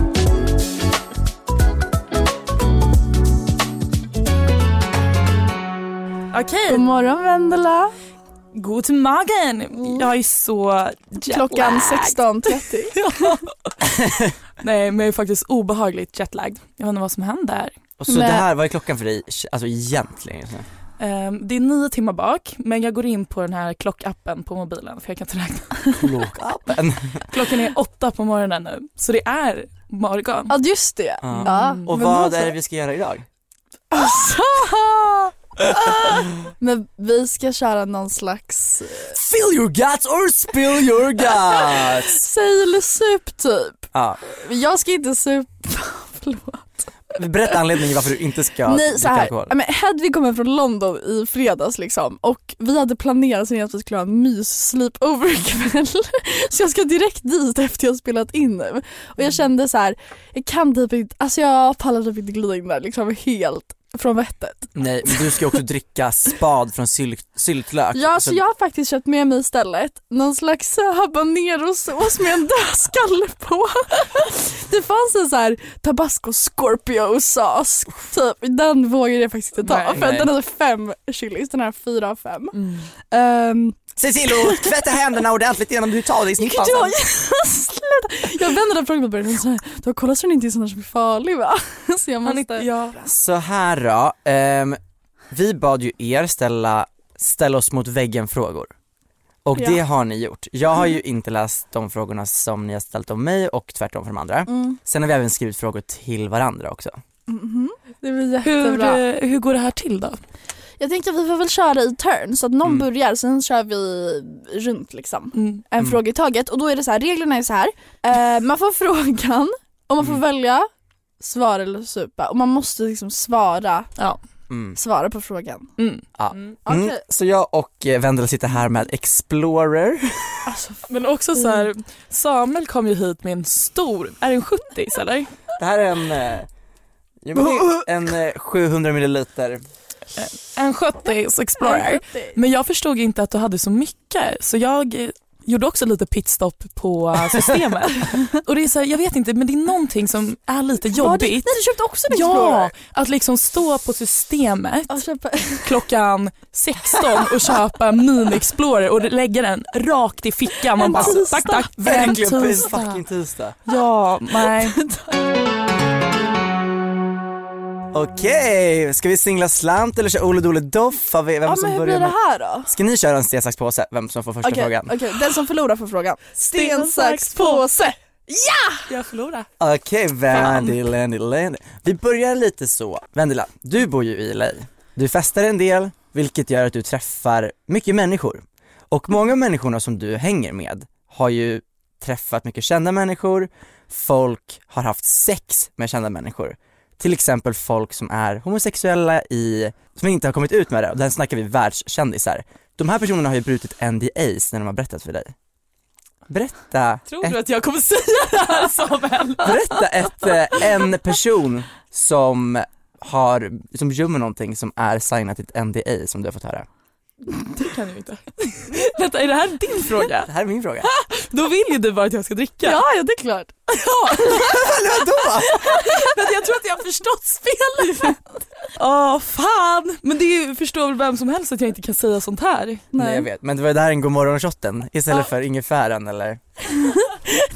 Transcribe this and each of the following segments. Okej, God morgon Vendela. Mm. god morgon. Jag är så Klockan jetlagged. 16.30. Nej men jag är faktiskt obehagligt jetlagd. Jag undrar vad som händer. Och så Men- det här, vad är klockan för dig alltså egentligen? Ehm, det är nio timmar bak men jag går in på den här klockappen på mobilen för jag kan inte räkna. Klockappen. Klockan är åtta på morgonen nu så det är morgon. Ja just det. Ja. Alltså, Mm. Ja. Och men vad alltså- är det vi ska göra idag? Alltså! Men vi ska köra någon slags Fill your guts or spill your guts! säg eller sup typ. ja, Jag ska inte supa, förlåt. berätta anledningen varför du inte ska Nej så dricka här. alkohol. Ja, men Hedvig kom hem från London i fredags liksom och vi hade planerat sen att vi skulle ha en mys-sleepover ikväll. Så jag ska direkt dit efter jag spelat in nu. Och Mm. jag kände så här, jag kan typ inte, alltså jag pallar typ inte glida in där liksom helt från vettet. Nej, men du ska också dricka spad från sylt, syltlök. Alltså, Ja, så Så- jag har faktiskt köpt med mig istället någon slags habanerosås med en dödskalle på. Det fanns en så här tabasco scorpio sås, typ. den vågade jag faktiskt inte ta Nej, för att nej. den hade fem chilis, den här fyra av fem. Mm. Ehm, Cecilo, tvätta händerna ordentligt innan du tar dig i jag, snippan. sluta. jag vände den frågan på början och sa du har kollat så den inte är sån här som är farlig va? Så jag Han måste... är, ja. Så här då, ehm, vi bad ju er ställa, ställa oss mot väggen frågor. Och Ja. det har ni gjort. Jag har ju inte läst de frågorna som ni har ställt om mig och tvärtom för de andra. Mm. Sen har vi även skrivit frågor till varandra också. Mhm. Det blir hur, jättebra. eh, hur går det här till då? Jag tänkte att vi får väl köra i turn så att någon Mm. börjar sen kör vi runt liksom. Mm. en Mm. fråga i taget och då är det så här, reglerna är så här. Eh, man får frågan och man får Mm. välja svara eller supa och man måste liksom svara, Mm. svara på frågan. Mm. Ja. Mm. Okej, Mm. Så jag och eh, Vendela sitter här med Explorer. alltså f- Men också så här, Samuel kom ju hit med en stor, är det en 70 eller? Det här är en, eh, jo, men det är en eh, 700 milliliter. En 70 Explorer. Men jag förstod inte att du hade så mycket så jag eh, gjorde också lite pitstop på eh, systemet. och det är så här, jag vet inte men det är någonting som är lite Var det- Nej jobbigt. du köpte också en Ja, Alltså, Explorer? att liksom stå på systemet Ja. Köpa... klockan 16 och köpa en mini-explorer och lägga den rakt i fickan. Man En bara tisdag. tack tack. En Verkligen på en tisdag. fucking tisdag. Ja, nej. Okej, ska vi singla slant eller köra Ole Dole Doff? Vad vi- Vem ja som men hur börjar blir det med? här då? Ska ni köra en sten, sax, påse? Vem som får första Okej, frågan? okej, den som förlorar får frågan. Sten, sax, påse! Jag förlorade. Okej, Vendela, Vendela. Vi börjar lite så. Vendela, du bor ju i LA. Du festar en del, vilket gör att du träffar mycket människor. Och många av människorna som du hänger med har ju träffat mycket kända människor, folk har haft sex med kända människor. till exempel folk som är homosexuella i, som inte har kommit ut med det, och där snackar vi världskändisar. De här personerna har ju brutit NDAs när de har berättat för dig. Berätta, Tror ett, du att jag kommer säga det här Samuel? berätta ett, eh, en person som har, som gömmer någonting som är signat i ett NDA som du har fått höra. Det kan du inte. Vänta, är det här din fråga? Det här är min fråga. Då vill ju du bara att jag ska dricka. Ja, ja det är klart. Ja. Eller vadå? Men jag tror att jag har förstått spelet. Åh fan, men det är ju- förstår väl vem som helst att jag inte kan säga sånt här. Nej jag vet, men det var där en godmorgon-shotten istället för ingefäran eller?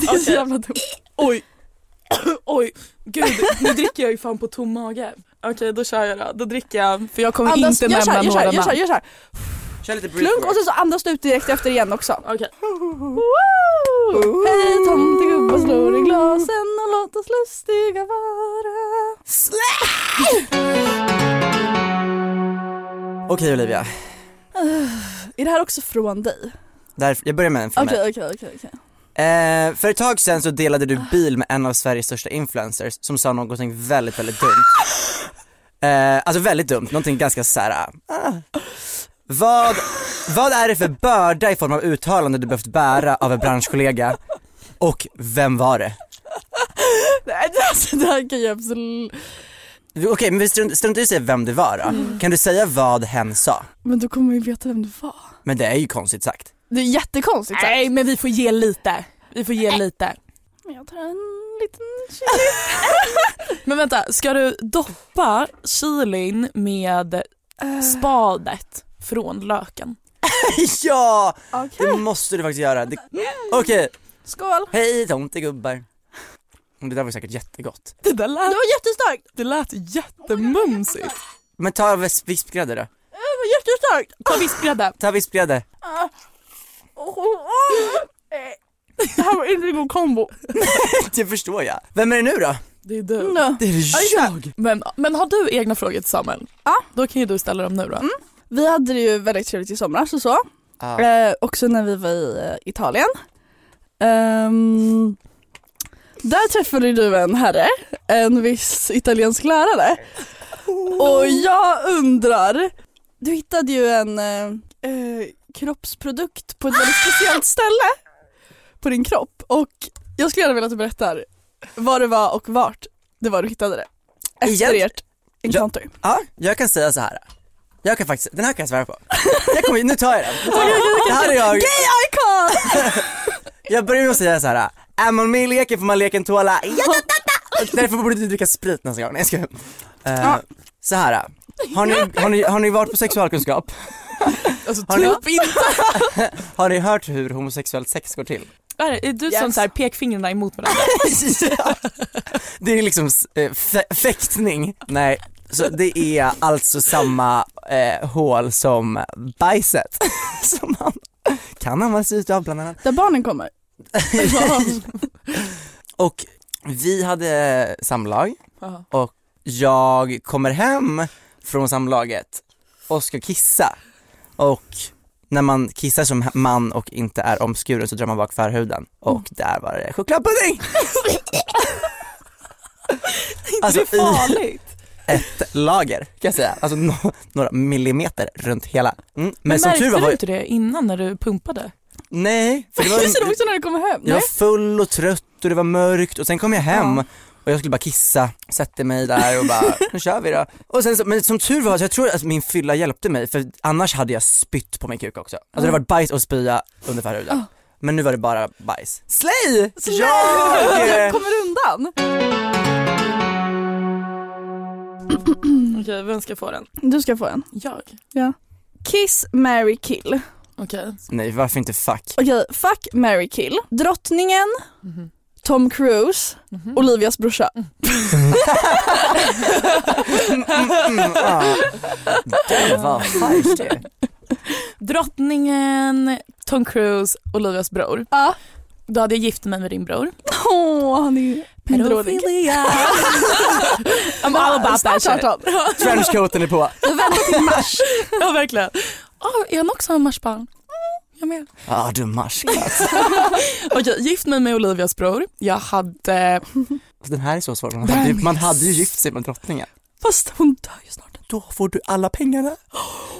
Det är så Okej. jävla dumt. Oj. Oj, gud nu dricker jag ju fan på tom mage. Okej då kör jag då, då dricker jag för jag kommer Andas, inte nämna gör såhär, gör några såhär, gör såhär, namn. gör såhär. Kör lite Klunk och sen så andas du ut direkt efter igen också. Okej. Woo! Hej tomtegubbar slår i glasen och låt oss lustiga vara. Okej Olivia, Är det här också från dig? där, jag börjar med en från mig. Okej okej okej. okej. Eh, för ett tag sedan så delade du bil med en av Sveriges största influencers som sa någonting väldigt, väldigt dumt. Eh, alltså väldigt dumt, någonting ganska såhär, ah. vad, vad är det för börda i form av uttalande du behövt bära av en branschkollega? Och vem var det? Nej det- alltså det här kan jag absolut... Okej men vi strunt, struntar i att säga vem det var då. Kan du säga vad hen sa? Men då kommer vi veta vem du var. Men det är ju konstigt sagt. Det är jättekonstigt sagt. Nej men vi får ge lite, vi får ge lite. Men jag tar en liten Men vänta, ska du doppa chilin med Eh. spadet från löken? ja! Okej. Det måste du faktiskt göra. Det- Okej, Skål. hej tomtegubbar. Det där var säkert jättegott. Det där Det lät, var jättestarkt. det lät jättemumsigt. Men ta vis- vispgrädde då. Det var jättestarkt. Ta vispgrädde. Ta vispgrädde. Oh, oh, oh. Eh, Ah. Det här var inte en god kombo. Det förstår jag. Vem är det nu då? Det är du. No. Det är jag. Men, men har du egna frågor till Samuel? Ja. Då kan ju du ställa dem nu då. Mm. Vi hade det ju väldigt trevligt i somras och så. Ja. Eh, också när vi var i eh, Italien. Ehm, där träffade du en herre, en viss italiensk lärare. Och jag undrar, du hittade ju en eh, eh, kroppsprodukt på ett väldigt speciellt ställe på din kropp och jag skulle gärna vilja att du berättar vad det var och vart det var du hittade det. Efter Egent- ert encounter. ja, jag kan säga så här. Jag kan faktiskt, den här kan jag svära på. Jag kommer, nu tar jag den. Nu tar jag den. Det här är jag. Icon! Jag börjar med att säga så här. Är man med i leken får man leken tåla. Ja, da, da, da. Och Därför borde du dricka sprit nästa gång. Nej, jag skojar. Eh, Så här. Har ni, har, ni, har ni varit på sexualkunskap? Alltså Har ni- ta upp inte. Har ni hört hur homosexuellt sex går till? Är det- är du som Yes. så här pekfingrarna emot varandra? Ja. Det är liksom eh, fä- fäktning. Nej, så det är alltså samma eh, hål som bajset som man kan använda sig utav bland annat. Där barnen kommer. Och vi hade samlag Jaha. och jag kommer hem från samlaget och ska kissa och när man kissar som man och inte är omskuren så drar man bak förhuden och där var det chokladpudding! Alltså, det är farligt. ett lager kan jag säga, alltså no- några millimeter runt hela. Mm. Men, Men, som märkte tur var, du var inte det innan när du pumpade? nej, för det var, Visste du också när du kommer hem? jag Nej. var full och trött och det var mörkt och sen kom jag hem och jag skulle bara kissa, sätter mig där och bara nu kör vi då. Och sen så, men som tur var så jag tror att min fylla hjälpte mig för annars hade jag spytt på min kuk också. Alltså det hade varit bajs och spya under förhuden. Men nu var det bara bajs. Slay! Jag! Kommer undan. Okej, vem ska få den? Du ska få en. Jag. Kiss, marry, kill. Okej. Nej varför inte fuck? Okej, fuck, marry, kill. Drottningen, Mhm. Tom Cruise, Olivias brorsa. Mm, ah. Det var fight det. Drottningen, Tom Cruise, Olivias bror. Ja. Då hade jag gift mig med din bror. Åh, han är ju mindre dålig. Pedofilia. I'm all about that shit. Starta om. Trenchcoaten är på. Vi väntar till mars. Ja, verkligen. Oh, är han också en marsbarn? Mm, jag med. Ja ah, du marsk. Okej, gift mig med Olivias bror. Jag hade Den här är så svår, man Den hade, ju, är man hade ju s- gift sig med drottningen. Fast hon dör ju snart. Då får du alla pengarna.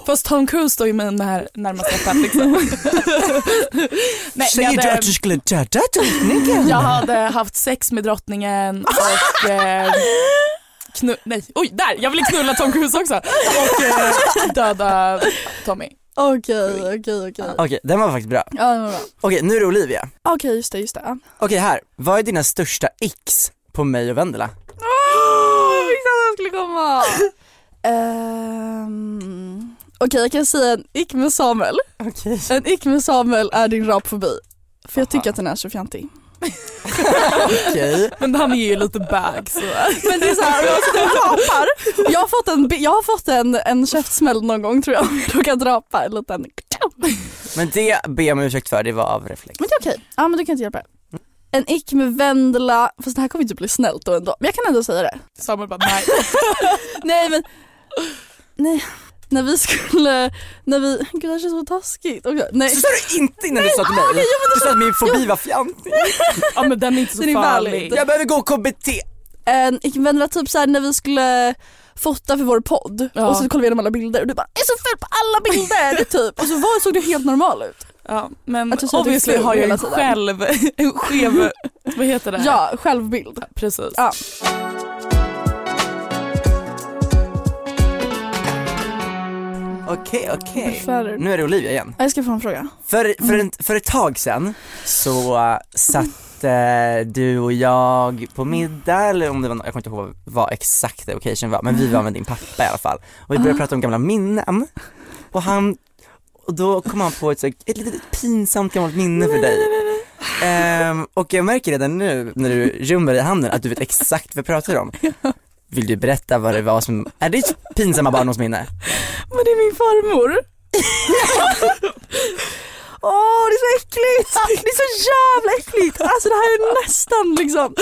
Fast Tom Cruise står ju med när, närmast läppen liksom. Nej, jag Säger du hade- att du skulle döda drottningen? Jag hade haft sex med drottningen och eh, knu- nej, oj där, jag ville knulla Tom Cruise också och eh, döda Tommy. Okej, okej, okej. Okej, den var faktiskt bra. Ja, det var bra. Okej, nu är det Olivia. Okej, just det, just det. Okej, här. Vad är dina största x på mig och Vendela? Oh, jag visste att jag skulle komma. Ehm, Okej, jag kan säga en ick med Samuel. Okej. En ick med Samuel är din rapfobi. För jag tycker att den är så fjantig. Okej. Men han är ju lite bag så. Men det är såhär, jag sitter och rapar. Jag har fått en, bi- jag har fått en, en käftsmäll någon gång tror jag. Jag kan rapa en liten... Men det ber jag om ursäkt för, det var av reflex. Men det är okej. Ja men du kan inte hjälpa det. En ick med Vendela, fast det här kommer inte bli snällt då ändå. Men jag kan ändå säga det. Samuel bara nej. Nej men, nej. När vi skulle, när vi, gud det här känns så taskigt. Okej, nej. Så sa du inte innan du sa till mig. du sa att min fobi var fjantig. Ja men den är inte så Den är farlig. valid. Jag behöver gå KBT. En ick med Vendela typ såhär när vi skulle fota för vår podd Ja. och så kollade vi igenom alla bilder och du bara jag är så ful på alla bilder typ. Och så var, såg du helt normal ut. Ja, men Jag tror så att det är obviously ful har jag hela ju tiden. själv en skev, vad heter det? Ja, självbild. Precis. Ja. Okej, okej. Varför? Nu är det Olivia igen. Ja, Jag ska få en fråga. För, för, en, för ett tag sedan så äh, satt eh, du och jag på middag eller om det var nå- jag kommer inte ihåg vad, vad exakt det occasion var men vi var med din pappa i alla fall och vi började Ah. prata om gamla minnen och han och då kom han på ett, så- ett litet pinsamt gammalt minne för dig. Ehm, och jag märker redan nu när du gömmer dig i handen att du vet exakt vad vi pratar om. Vill du berätta vad det var som, är ditt pinsamma barndomsminne? Men det är min farmor. Åh det är så äckligt! Det är så jävla äckligt! Alltså det här är nästan liksom...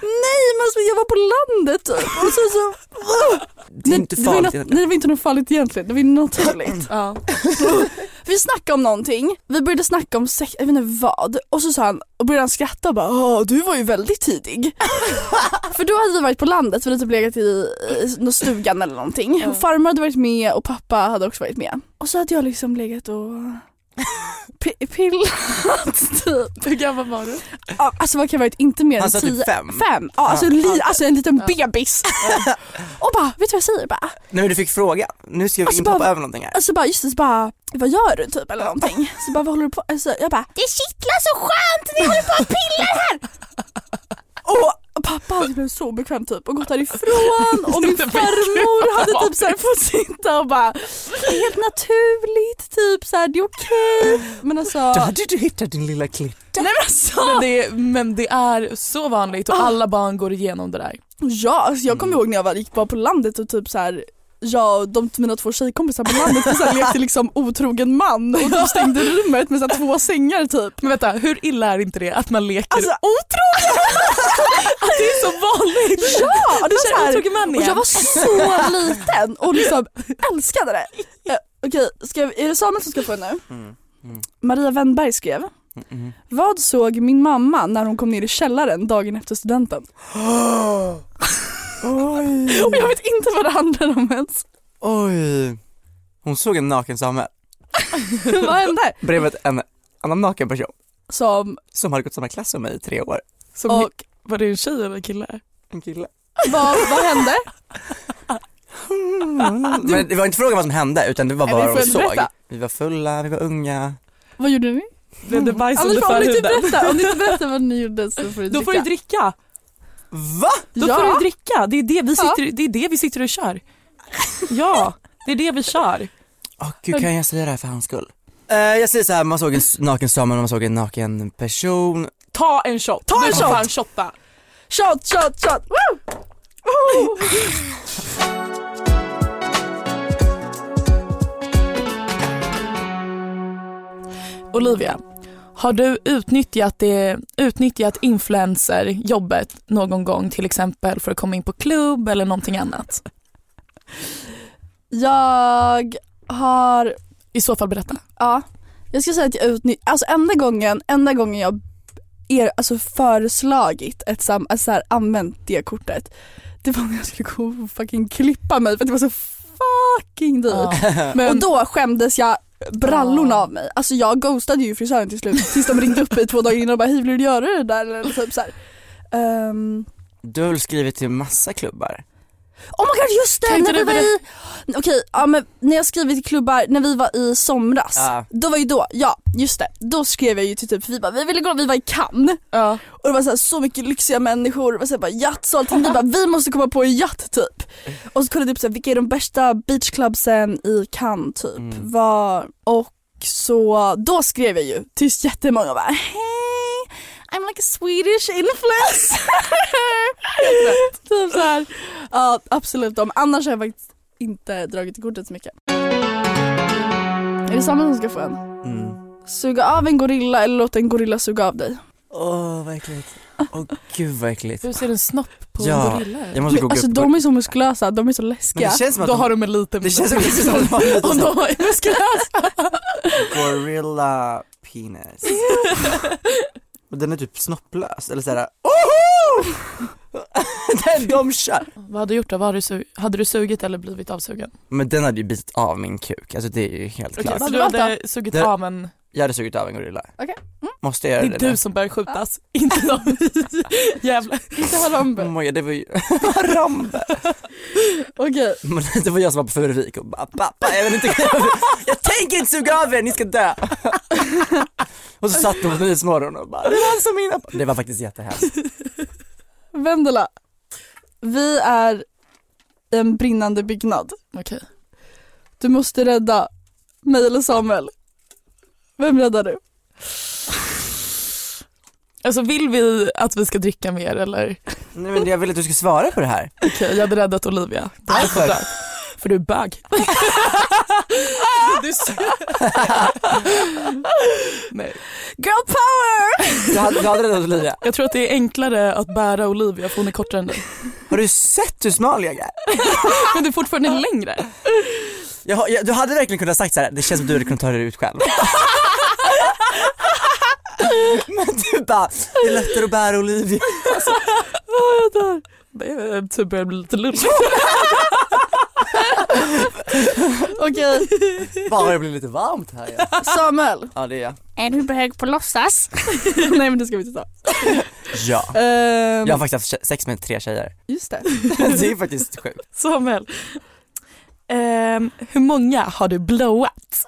Nej men alltså, jag var på landet typ och så... så Det är inte det var ju farligt. något, nej det var inte något farligt egentligen, det var ju naturligt. Ja. Vi snackade om någonting, vi började snacka om sex, jag vet inte vad och så sa han, och började han skratta och bara Åh, du var ju väldigt tidig. För då hade vi varit på landet, vi hade typ legat i, i någon stugan eller någonting. Ja. Farmor hade varit med och pappa hade också varit med. Och så hade jag liksom legat och pi- pillat typ. Hur gammal var du? Ja, Alltså vad kan jag ha varit, inte mer Han än sa tio? typ fem. Fem? Ja, alltså, en li- alltså en liten bebis. och bara, vet du vad jag säger? Bara, Nej men du fick fråga, nu ska vi Alltså, inte hoppa bara- över någonting här. Alltså bara just det, så bara vad gör du typ eller någonting? Så bara vad håller du på alltså, Jag bara det kittlar så skönt, ni håller på och pillar här! Och pappa hade blivit så obekväm typ och gått därifrån och min farmor hade typ så här fått sitta och bara det är helt naturligt typ så här, det är okej. Men alltså, nej hade du hittat din lilla klipp. men alltså Men det, men det är så vanligt Ah. och alla barn går igenom det där. Ja, alltså jag kommer ihåg när jag var, gick bara på landet och typ så här. Jag och de, mina två tjejkompisar på landet vi så här lekte liksom otrogen man och typ stängde rummet med så här två sängar typ. Men vänta, hur illa är inte det att man leker? Alltså att det är så vanligt! ja! Det känner var så otrogen man här, och igen. jag var så liten och liksom älskade det. Eh, Okej, ska vi- är det Samuel som ska få den nu? Maria Wennberg skrev Vad såg min mamma när hon kom ner i källaren dagen efter studenten? Mm. Oj. Och jag vet inte vad det handlar om ens. Oj. Hon såg en naken same vad hände? bredvid en annan naken person Som, som hade gått samma klass som mig i tre år. Som, och var det en tjej eller en kille? En kille. vad, vad hände? Men det var inte frågan vad som hände utan det var Nej, vad vi hon får såg. berätta. Mm. Vi var fulla, vi var unga. Vad gjorde ni? Blev det bajs Anders under bara, om ni inte förhuden? berättar, om ni inte berättar vad ni gjorde så får du dricka. Då får du dricka! Va? Då Ja. får du dricka! Det är det, vi Ja. sitter, det är det vi sitter och kör. Ja, det är det vi kör. Åh gud kan jag säga det här för hans skull? Eh, jag säger så här, man såg en s- naken same man såg en naken person. Ta en shot! Ta en Du får shot. fan shotta! Shot, shot, shot! Woo! Oh! Olivia, har du utnyttjat, det, utnyttjat influencerjobbet någon gång till exempel för att komma in på klubb eller någonting annat? Jag har, I så fall berätta. ja, jag ska säga att jag utnyttjar, alltså enda gången, enda gången jag er, alltså föreslagit ett sam, alltså så här, använt det kortet. Det var när jag skulle gå och fucking klippa mig för att det var så fucking dyrt. Men- Och då skämdes jag brallorna Ja. av mig. Alltså jag ghostade ju frisören till slut tills de ringde upp mig två dagar innan och bara hej vill du göra det där? Eller typ så här. Ehm, Du har väl skrivit till massa klubbar? Oh my god just det! Kan inte När vi var du i... Okej, ja, men när jag skrev till klubbar när vi var i somras. Ja. Då var ju då, ja just det. Då skrev jag ju till typ, för vi bara, vi ville gå, vi var i Cannes. Ja. Och det var så, här, så mycket lyxiga människor, det var så här, bara yachts och allting. Vi bara, vi måste komma på en yacht typ. Och så kollade vi upp så här, vilka är de bästa beachclubsen i Cannes typ. Mm. Var, och så, då skrev jag ju till jättemånga och bara, hej! I'm like a Swedish influencer. typ så här. Ja absolut de. Annars har jag faktiskt inte dragit i kortet så mycket. Är det samma som ska få en? Mm. Suga av en gorilla eller låt en gorilla suga av dig? Åh vad äckligt. Åh gud vad äckligt. Hur ser en snopp på Ja, en gorilla ut? Jag måste Men, googla alltså upp de är så muskulösa, de är så Men läskiga. det känns som att Då de- har de en liten... det känns som att de har lite sån Om de är muskulösa. gorilla penis. Och den är typ snopplös, eller såhär, oho! den de kör. Vad hade du gjort då? Vad hade, du su- hade du sugit eller blivit avsugen? Men den hade ju bitit av min kuk, alltså det är ju helt Okej, klart. så Vad du hade du hade sugit Det- av en... Jag hade sugit av en gorilla. Okej. Måste mm. Det jag göra är det? du som börjar skjutas, inte de i Gävle. Inte Harambe. Oh my God, det var ju Harambe. Okej, Men det var jag som var på Furuvik och bara pappa jag vill inte jag tänker inte suga av er, ni ska dö. och så satt hon på Nyhetsmorgon och bara det var som mina... Det var faktiskt jättehemskt. Vendela. Vi är i en brinnande byggnad. Okej. Du måste rädda mig eller Samuel. Vem räddar du? Alltså vill vi att vi ska dricka mer eller? Nej men jag vill att du ska svara på det här. Okej, jag hade räddat Olivia. Det hade Varför? jag dött. För du är bög. du ser... Nej. Girl power! Du hade, du hade räddat Olivia. Jag tror att det är enklare att bära Olivia för hon är kortare än dig. Har du sett hur smal jag är? Men du är fortfarande längre. Jag, har- jag, du hade verkligen kunnat sagt så här. det känns som du hade kunnat ta dig ut själv. men du bara, det är lättare att bära Olivia. Det är typ börjar bli lite lulligt. Okej, Bara det blir lite varmt här ja. Samuel. Ja det är jag. Är du bög på låtsas? Nej men det ska vi inte ta. Ja. Ehm, Jag har faktiskt haft tje- sex med tre tjejer. Just det. Det är faktiskt sjukt. Samuel. Ehm, hur många har du blowat?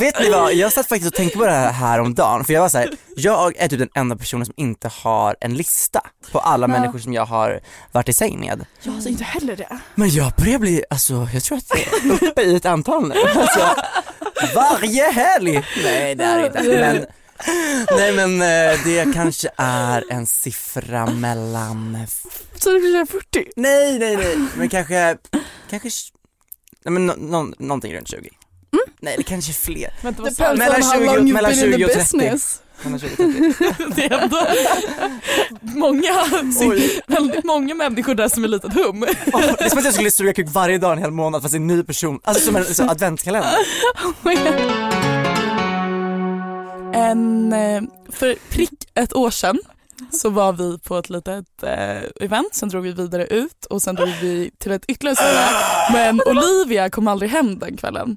Vet ni vad, jag satt faktiskt och tänkte på det här häromdagen för jag var såhär, jag är typ den enda personen som inte har en lista på alla Ja. människor som jag har varit i säng med. Jag har inte heller det. Men jag börjar bli, alltså jag tror att jag är uppe i ett antal nu. Alltså, varje helg! Nej det är det inte. Men, nej men eh, det kanske är en siffra mellan, Så du kanske är 40? nej nej nej, men kanske, kanske, nej men no, no, någonting runt 20. Nej det kanske är fler. Vänta, vad sa Depends du? Mellan on how 20 long you've mellan been in 20 the och 30. business. Mellan 20 och 30. Det är ändå många, väldigt många människor där som är litet hum. Åh, det är som att jag skulle suga kuk varje dag en hel månad fast en ny person, alltså som en så adventskalender. En, eh, för prick ett år sedan så var vi på ett litet eh, event, sen drog vi vidare ut och sen drog vi till ett ytterligare ställe. Men Olivia kom aldrig hem den kvällen.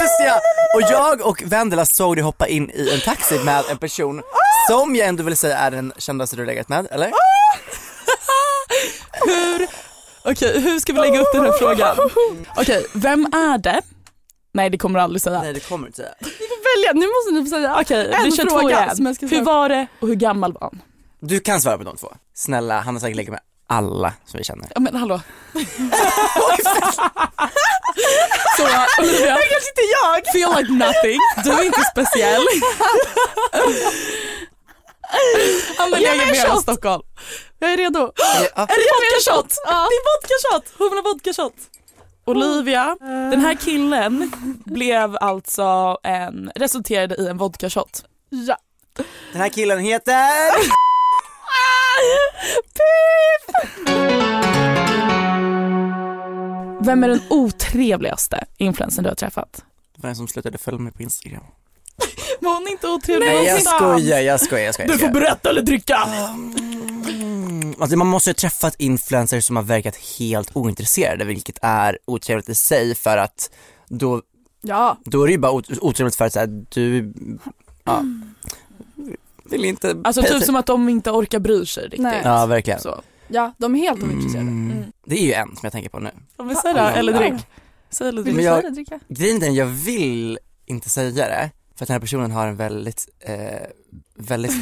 Just ja! Och jag och Vendela såg dig hoppa in i en taxi med en person som jag ändå vill säga är den kändaste du legat med, eller? Hur, okej, hur ska vi lägga upp den här frågan? Okej, vem är det? Nej det kommer du aldrig säga. Nej det kommer du inte säga. Välja, nu måste ni få säga Okej, en vi kör två fråga igen. som jag ska Hur svara var det och hur gammal var han? Du kan svara på de två. Snälla, han har säkert legat med alla som vi känner. Ja men hallå. Så Olivia, kanske inte jag. feel like nothing, du är inte speciell. Använder Ge mig en jag mer shot. än Stockholm. Jag är redo. Ja, Är det vodka shot? Ja. Det är vodka shot, hon vill ha vodka shot. Olivia, den här killen blev alltså en, resulterade i en vodka shot. Ja. Den här killen heter... Vem är den otrevligaste influensen du har träffat? lyssnare som slutade följa mig på Instagram. Var hon inte otrevlig? Nej jag någonstans? skojar, jag skojar, jag skojar. Du får berätta eller dricka! Mm, alltså man måste ju ha träffat influencers som har verkat helt ointresserade vilket är otrevligt i sig för att då, Ja. då är det ju bara ot- otrevligt för att så här, du ja, vill inte Alltså typ som att de inte orkar bry sig riktigt. Nej. Ja verkligen. Så. ja, de är helt ointresserade. Mm. Det är ju en som jag tänker på nu. Ja, men säg det, eller Ja. drick. Säg eller Vill drick. du Men jag- säga det dricka? Grejen är den, jag vill inte säga det för att den här personen har en väldigt, eh, väldigt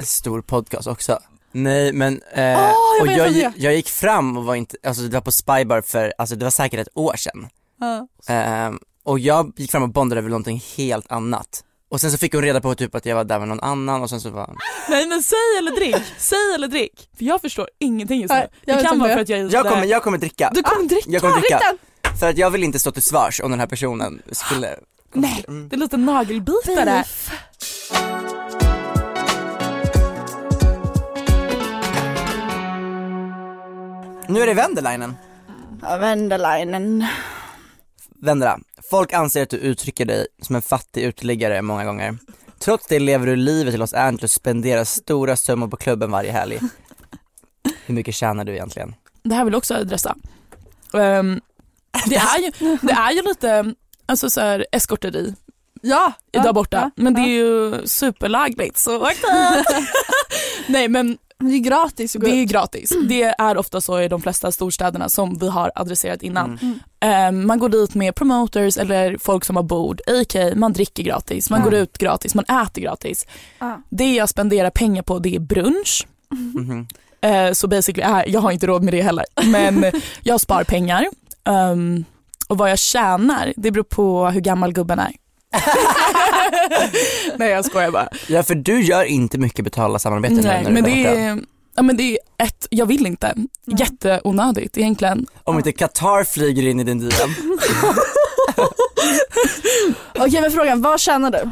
stor podcast också. Nej men, eh, Ah, jag och vet jag, vem det är. gi- jag gick fram och var inte, alltså det var på Spybar för, alltså det var säkert ett år sedan. Ja. Ehm, och jag gick fram och bondade över någonting helt annat. Och sen så fick hon reda på typ att jag var där med någon annan och sen så var Nej men säg eller drick, säg eller drick. För jag förstår ingenting just nu. Nej, jag Det vet kan inte vara vad för att jag är Jag kommer, jag kommer dricka. Du kommer dricka? Jag kommer dricka. Dricka! För att jag vill inte stå till svars om den här personen skulle... Mm. Nej, det är lite nagelbitare. Nu är det Wenderlinen. Ja, Wendelinen. Vendela, folk anser att du uttrycker dig som en fattig uteliggare många gånger. Trots det lever du livet i Los Angeles och spenderar stora summor på klubben varje helg. Hur mycket tjänar du egentligen? Det här vill jag också adressa. Ehm, det, är ju, det är ju lite alltså, så här, eskorteri Ja, där ja, borta, ja, men det ja. är ju superlagligt så okej. Nej men Men det är gratis att gå det är ut. gratis. Det är ofta så i de flesta storstäderna som vi har adresserat innan. Mm. Ehm, man går dit med promoters eller folk som har bord, a.k. man dricker gratis, man Ja. går ut gratis, man äter gratis. Ja. Det jag spenderar pengar på det är brunch. Mhm. Eh, så basically, äh, jag har inte råd med det heller. Men jag spar pengar. Ehm, och vad jag tjänar, det beror på hur gammal gubben är. Nej jag skojar bara. Ja för du gör inte mycket betalda samarbeten nu när Nej, du men, är det borta. är, ja, men det är ett, jag vill inte. Mm. Jätteonödigt egentligen. Om inte Qatar flyger in i din DM. Okej men frågan, vad tjänar du?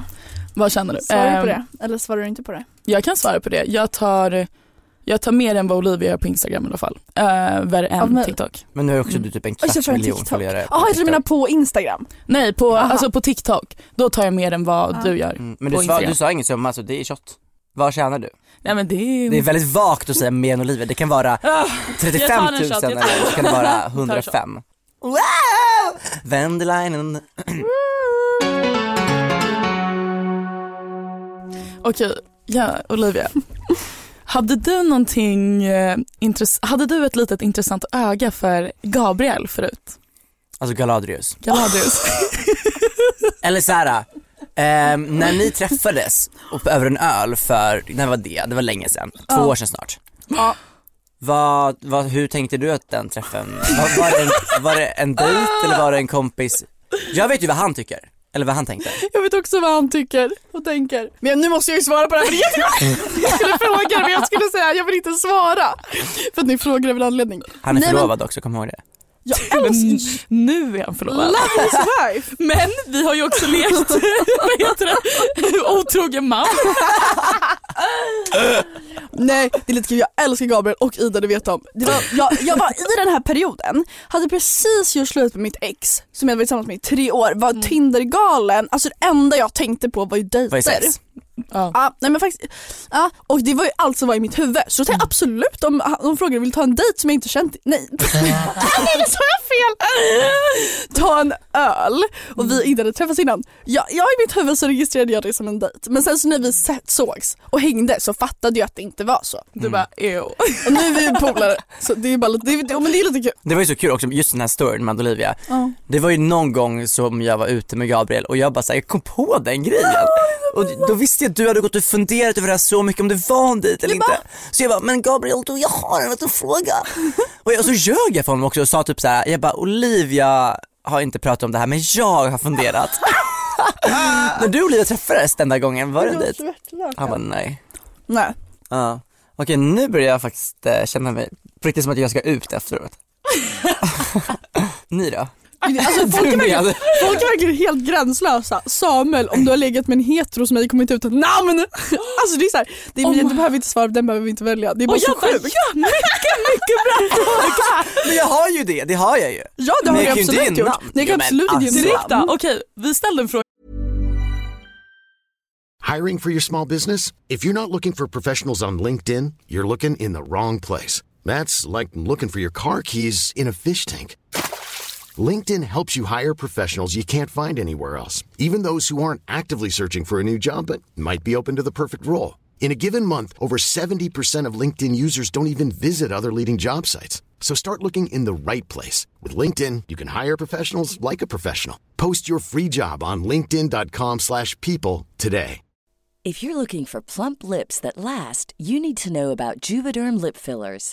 Vad känner du? Svarar du på Ehm, det? Eller svarar du inte på det? Jag kan svara på det. Jag tar, jag tar mer än vad Olivia gör på Instagram i alla fall. Uh, värre än Av mig? TikTok. Men nu har också du typ en Mm. Oj, så kvarts får jag en miljon TikTok. följare på Ah, Jaha, jag tror du TikTok. menar på Instagram? Nej, på, Aha. alltså på TikTok. Då tar jag mer än vad Ah. du gör. Mm, Men på du, svar, Instagram. du sa ingen summa så det är shot. Vad tjänar du? Nej men det är... Det är väldigt vagt att säga mer än Olivia, det kan vara Ah, 35 000 Jag tar en shot, jag tar en eller så kan det Jag vara tar en shot. 105. Wow! Wendelinen. Okej, ja Olivia. Hade du någonting eh, intress- Hade du ett litet intressant öga för Gabriel förut? Alltså Galadrius. Galadrius? Eller såhär, ehm, när ni träffades upp över en öl för, när var det? Det var länge sedan, två Ja. år sedan snart. Ja. Vad, vad, hur tänkte du att den träffen, var, var, det en, var det en dejt eller var det en kompis? Jag vet ju vad han tycker, eller vad han tänkte. Jag vet också vad han tycker och tänker. Men nu måste jag ju svara på det här för det är jättekonstigt. Jag skulle fråga men jag skulle säga jag vill inte svara. För att ni frågar av en anledning. Han är Nej, men- förlovad också, kom ihåg det. Jag älskar Men nu är han förlovad. Love is wife. Men vi har ju också lekt, vad heter det, otrogen man. Nej det är lite kul, jag älskar Gabriel och Ida det vet de. Det var, jag, jag var i den här perioden, hade precis gjort slut med mitt ex som jag hade varit tillsammans med i tre år, var Tindergalen. Alltså det enda jag tänkte på var ju dejter. Vad är sex? Ja. Ja, nej men faktiskt, ja, och det var ju allt som var i mitt huvud. Så då tänkte jag absolut om de frågade vill du ta en dejt som jag inte känt, nej. nej nu sa jag fel! Ta en öl och vi inte hade träffats innan. Jag, jag i mitt huvud så registrerade jag det som en dejt. Men sen så när vi sett, sågs och hängde så fattade jag att det inte var så. Du bara ew. Och nu är vi ju polare. Så det är bara lite, det är, ja, men det är lite kul. Det var ju så kul också, just den här storyn med Olivia. Det var ju någon gång som jag var ute med Gabriel och jag bara såhär, jag kom på den grejen. Och då visste jag att du hade gått och funderat över det här så mycket om det var en dejt eller inte. Så jag bara, men Gabriel du, jag har en liten fråga. och, jag, och så ljög jag för honom också och sa typ så här: jag bara Olivia har inte pratat om det här men jag har funderat. När du och Olivia träffades den där gången, var det en dejt? Han bara nej. Nej. Ja. Okej nu börjar jag faktiskt eh, känna mig, på riktigt som att jag ska ut efteråt. Ni då? Alltså, folk, är verkligen, folk är verkligen helt gränslösa. Samuel, om du har legat med en hetero som jag kommer inte ut ett namn. Alltså det är så här, det är, Oh my- du behöver inte svara, den behöver vi inte välja. Det är bara Och så jag bara sjukt. ja, mycket mycket bra fråga. Men jag har ju det, det har jag ju. Ja det Men har jag kan jag ju absolut inte gjort. innan. Nej, jag Ja, kan men absolut inte alltså. innan. Direkt då? Okej, vi ställde en fråga Hiring for your small business? If you're not looking for professionals on LinkedIn, you're looking in the wrong place. That's like looking for your car keys in a fish tank. LinkedIn helps you hire professionals you can't find anywhere else, even those who aren't actively searching for a new job but might be open to the perfect role. In a given month, over 70% of LinkedIn users don't even visit other leading job sites. So start looking in the right place. With LinkedIn, you can hire professionals like a professional. Post your free job on linkedin.com/people slash people today. If you're looking for plump lips that last, you need to know about Juvederm lip fillers.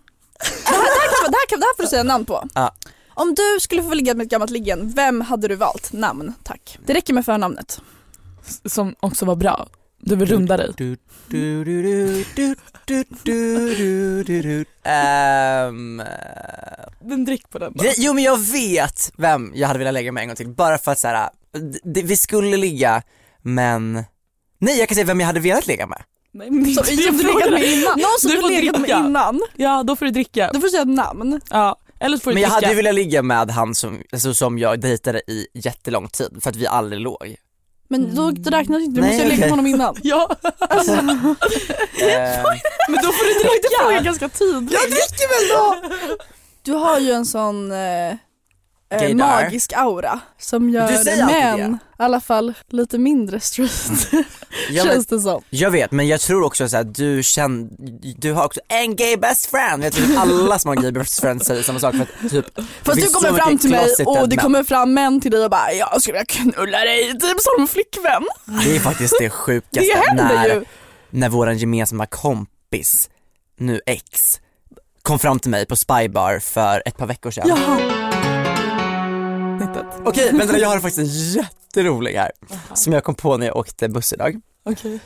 det, här, det, här kan, det, här kan, det här får du säga namn på. Ja. Om du skulle få ligga med ett gammalt liggen, vem hade du valt? Namn tack. Det räcker med förnamnet. Som också var bra. Du vill runda dig. Du, du, du, du, du, du, du, du, du, du. Ehm, eh, Men drick på den gre- jo men jag vet vem jag hade velat lägga med en gång till, bara för att så här, d- d- vi skulle ligga men, nej jag kan säga vem jag hade velat ligga med. Nej, men det är Som inte du det legat frågan med är. innan. Någon som Du du, får legat med dricka. innan. Ja, då får du dricka. Då får du säga namn. Ja, eller så får du Men jag dricka. hade ju velat ligga med han som, alltså, som jag dejtade i jättelång tid för att vi aldrig låg. Men då räknas inte, du Nej, måste ju ha legat okej. med honom innan. Mm. Ja, Ehm, men då får du dricka. Det är ganska tidigt. jag dricker väl då! Du har ju en sån eh, eh, Gaydar. magisk aura som Du gör säger alltid män i det. alla fall lite mindre street Ja, men, känns det som. jag vet men jag tror också så här, du känner, du har också en gay best friend. Jag tror typ alla som har gay best friends säger samma sak för att typ Fast det du finns så kommer fram mycket till mig closeted och det män. kommer fram män till dig och bara jag skulle vilja knulla dig typ som en flickvän. Det är faktiskt det sjukaste Det händer när, ju. när våran gemensamma kompis, nu ex, kom fram till mig på Spybar för ett par veckor sedan. Ja. Okej, vänta jag har faktiskt en jätterolig här som jag kom på när jag åkte buss idag. Okej.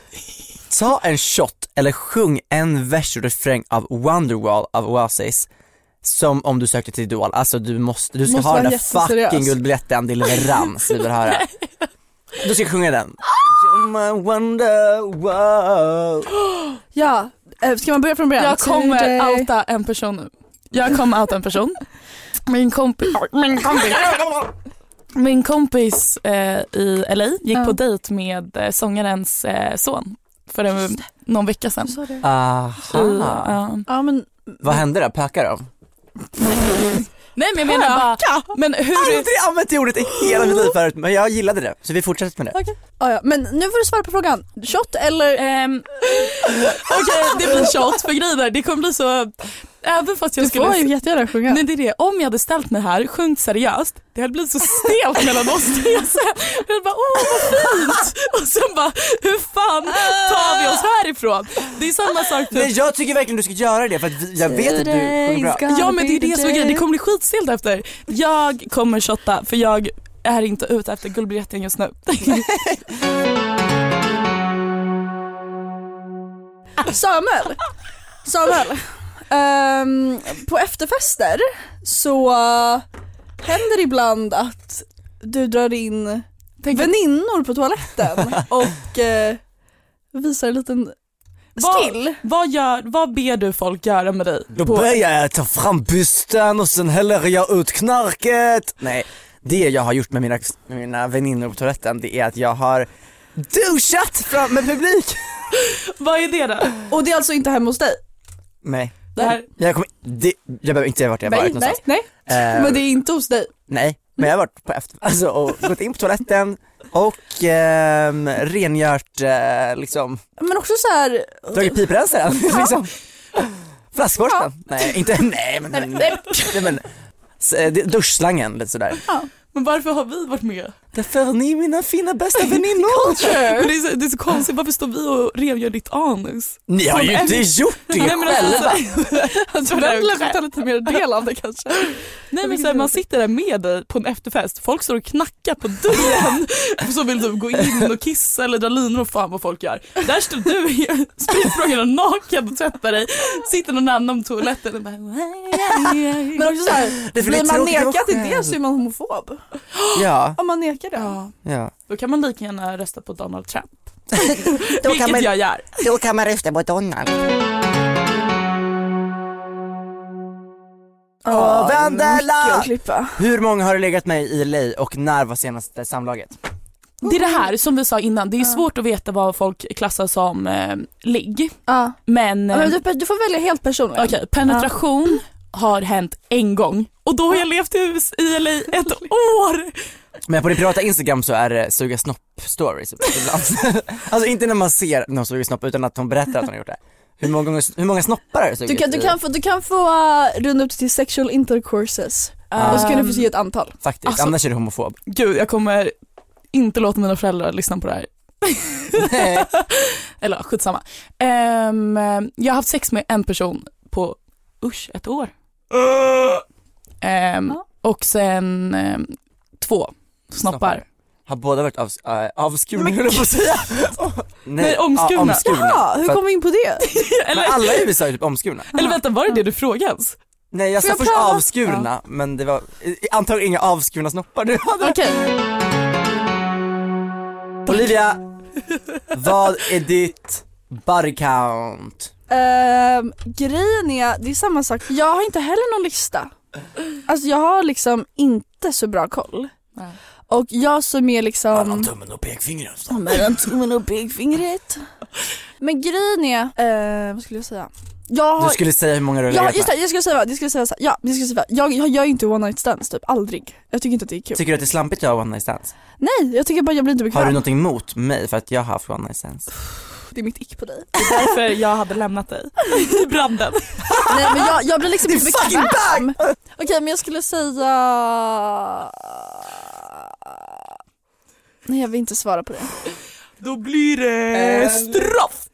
Ta en shot eller sjung en vers och refräng av Wonderwall av Oasis som om du sökte till Idol, alltså du måste, du ska Måste ha vara den där jätteseriös. fucking guldbiljetten, det är leverans vi vill höra. Du ska sjunga den. You're my wonderwall. ja. Eh, Ska man börja från början? Jag kommer Today. outa en person nu. Jag kommer outa en person. Min kompis, min kompis, min kompis eh, i LA gick Ja. på dejt med eh, sångarens eh, son för en, någon vecka sedan. Du sa det. I, Aha. ja. Ja men Vad hände då? Pökar Alltså, de? Nej men jag menar bara, men hur, Aldrig använt det ordet i hela mitt liv förut men jag gillade det så vi fortsätter med det. Ja, ja. Men nu får du svara på frågan. Shot eller? Ehm, Okej, det blir shot för grejen är, det kommer bli så... Även fast jag Du skulle... får ju jättegärna sjunga. Nej, det är det. Om jag hade ställt mig här, sjungit seriöst, det hade blivit så stelt mellan oss. Det är så här- Jag hade bara, åh vad fint! Och sen bara, hur fan tar vi oss härifrån? Det är samma sak Men typ. jag tycker verkligen du ska göra det för att vi- jag vet att du sjunger bra. Ja men det är det som är grejen, det kommer bli skitstelt efter. Jag kommer shotta för jag är inte ute efter guldbiljetten just nu. Samuel! Samuel! Ehm, på efterfester så eh, händer det ibland att du drar in Tänk- väninnor på toaletten och eh, visar en liten skill. Vad, gör, vad ber du folk göra med dig? Då börjar jag ta fram bysten och sen häller jag ut knarket. Nej, det jag har gjort med mina, med mina väninnor på toaletten det är att jag har duschat fram med publik. Vad är det då? Och det är alltså inte hemma hos dig? Nej, Det här, jag, kommer, det, jag behöver inte säga vart jag har nej, varit nej, någonstans. nej. Eh, Men det är inte hos dig. Nej, men jag har varit på efter, alltså, och gått in på toaletten och ehm, rengjort, eh, liksom, Men också så här. dragit piprensaren liksom. Flaskborsten. Nej, inte, nej men, nej, men s- eh, det- duschslangen lite sådär. men varför har vi varit med? Därför är ni mina fina bästa väninnor. Men det, är så, det är så konstigt, varför står vi och rengör ditt anus? Ni har ju Som inte en- gjort det Nej, men alltså, själva. Han tror det väl själv. ta lite mer del av det kanske. Nej men så här, man sitter där med dig på en efterfest, folk står och knackar på dörren som vill typ gå in och kissa eller dra linor och fan vad folk gör. Där står du i spritsprångande naken och tvättar dig, sitter någon annan på toaletten och bara Men också så här, Det är för det blir är man tråkigt att vara nekad till själv. det så är man homofob. Ja, Om man nekar det. ja. Då kan man lika gärna rösta på Donald Trump. Då Vilket kan man, jag gör. då kan man rösta på Donald. Åh, Ja, mycket Vendela! att klippa. Hur många har du legat med i LA och när var senaste samlaget? Det är det här som vi sa innan, det är svårt att veta vad folk klassar som eh, ligg. Ja. Men, Ja, eh, men du, du får välja helt personligt. Okej, penetration har hänt en gång och då har jag levt i hus i LA ett år. Men på din privata instagram så är det suga snopp stories ibland. Alltså inte när man ser någon suga snopp utan att hon berättar att hon har gjort det. Hur många, gånger, hur många snoppar har du Du sugit? kan, du i- kan få, du kan få uh, runda upp det till sexual intercourses. Och så kan du få ge ett antal. Faktiskt, Alltså- annars är du homofob. Ehm, Gud, jag kommer inte låta mina föräldrar lyssna på det här. Nej. Eller ja, skitsamma. Ehm, jag har haft sex med en person på, usch, ett år. Äh! Ehm, Ja. Och sen ehm, två snoppar. Har båda varit avs äh, avskurna höll jag på att säga. Nej, omskurna. ja, omskurna. Ja, hur För att- kom vi in på det? men alla i USA är typ omskurna. Eller vänta, var det det du frågade? Nej jag sa Får jag först pröva? avskurna men det var i- antagligen inga avskurna snoppar du hade. Okej, Olivia, vad är ditt body count? ehm, grejen är, det är samma sak. Jag har inte heller någon lista. Alltså jag har liksom inte så bra koll. Nej. Och jag som är liksom... tummen och pekfingret. Mellan tummen och pekfingret. Men grejen är, eh, vad skulle jag säga? Jag Du har, skulle säga hur många du har ja, legat just det, med. jag skulle säga, vad- jag skulle säga så här, ja, jag skulle säga, jag, jag gör ju inte one night stands typ, aldrig. Jag tycker inte att det är kul. Tycker du att det är slampigt att ha one night stands? Nej, jag tycker bara jag blir inte bekväm. Har du någonting emot mig för att jag har haft one night stands? Det är mitt ick på dig. Därför jag hade lämnat dig i branden. Nej men jag, jag blir liksom inte fucking bekväm. Okej men jag skulle säga... Nej jag vill inte svara på det. Då blir Äh! det Ehm, straff.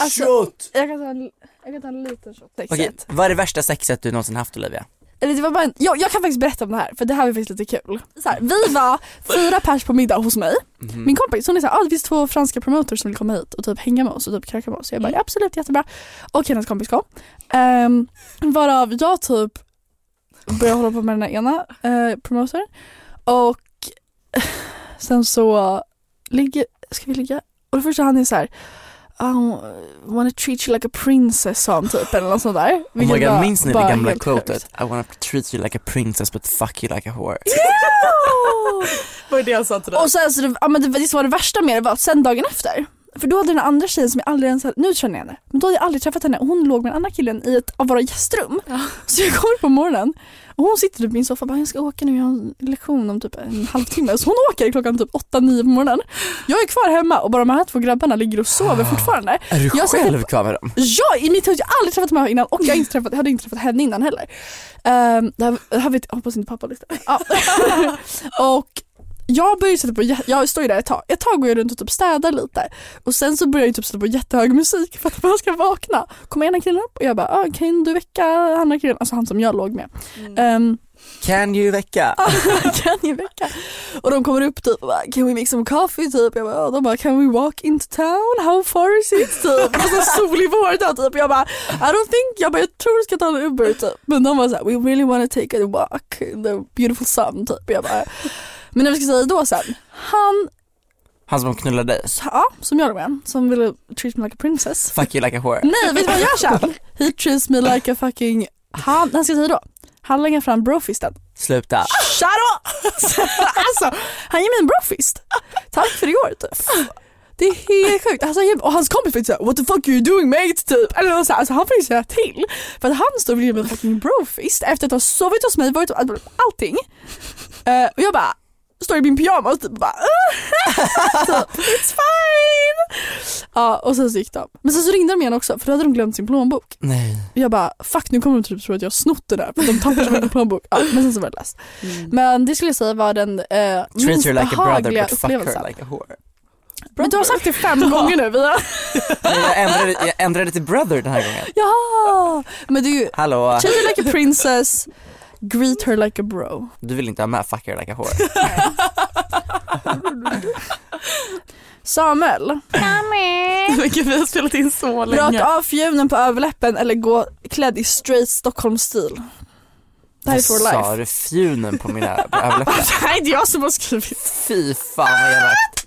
Alltså- Shot! Jag kan ta en, jag kan ta en liten shot. Okej, Sexet. vad är det värsta sexet du någonsin haft Olivia? Eller det var bara en, jag, jag kan faktiskt berätta om det här för det här var faktiskt lite kul. Så här, vi var fyra pers på middag hos mig. Mm. Min kompis hon är såhär, ah, det finns två franska promoters som vill komma hit och typ hänga med oss och typ kröka med oss. Så jag bara Mm. ja, absolut jättebra. Och hennes kompis kom. Um, varav jag typ började hålla på med den här ena uh, promotorn. Och sen så ligger, ska vi ligga? Och det första han är såhär Oh, wanna treat you like a princess sa han typ eller något sånt där. Oh my Vilket var god, minns ni det bara gamla helt sjukt. quotet? I wanna treat you like a princess but fuck you like a whore. Vad är det jag sa till dig? Och sen, så det, ja, men det, det som var det värsta med det var att sen dagen efter, för då hade den andra tjejen som jag aldrig ens hade, nu känner jag henne, men då hade jag aldrig träffat henne och hon låg med den andra killen i ett av våra gästrum. Så jag kommer på morgonen och hon sitter typ i min soffa och bara jag ska åka nu, jag har en lektion om typ en halvtimme. Så hon åker klockan typ 8-9 på morgonen. Jag är kvar hemma och bara de här två grabbarna ligger och sover fortfarande. Är du Jag sätter- själv kvar med dem? Ja, i mitt hus. Jag har aldrig träffat de här innan och jag, har inte träffat, jag hade inte träffat henne innan Ehm, heller. Um, det här, det här vet, jag hoppas inte pappa lyssnar. Ja. och jag började sätta på, jä- jag står ju där ett tag, ett tag går jag runt och typ städar lite och sen så börjar jag typ sätta på jättehög musik för att man ska vakna. Kommer ena killen upp och jag bara ah, kan du väcka andra killen, alltså han som jag låg med. Ehm, Can you väcka? kan ju väcka. Och de kommer upp typ och bara, can we make some coffee typ. Jag bara, och de bara can we walk into town? How far is it? Typ. Och så solig vårdag typ. Jag bara I don't think, jag bara jag tror du ska ta en Uber typ. Men de var såhär we really wanna take a walk in the beautiful sun typ. Jag bara men när vi ska säga då sen, han, Han som knullar dig. ja, som jag låg med, som ville treat me like a princess. Fuck you like a whore. Nej, vet du vad han gör sen? He treats me like a fucking, han, han ska säga då, han lägger fram brofisten. Sluta. Shut up! alltså, han ger mig en brofist. Tack för igår typ. Det är helt sjukt. Alltså, han ger- och hans kompis fick såhär what the fuck are you doing mate typ. Eller något så här. alltså, han fick säga till. För att han står och vill ge mig en fucking brofist efter att ha sovit hos mig, varit allting. Eh, och jag bara står i min pyjamas typ och bara typ, it's fine. Ja och sen så gick de. Men sen så ringde de igen också för då hade de glömt sin plånbok. Nej. Jag bara fuck nu kommer de typ tro att jag har snott det där för de tappar så mycket plånbok. Ja, men sen så var det löst. Men det skulle jag säga var den eh, Treat minst her like a brother behagliga but fuck upplevelsen. her like a whore. Men du har sagt det fem gånger nu Via. Nej, jag, ändrade, jag ändrade till brother den här gången. Ja! Men det är ju Hallå, treat her like a princess, greet her like a bro. du vill inte ha med fuck her like a whore. Samuel, Vilket vi har spelat in så länge. raka av fjunen på överläppen eller gå klädd i straight Stockholm-stil. Det här är for Sa life. du fjunen på mina på överläppar? Det här är inte jag som har skrivit. Fy fan vad elakt.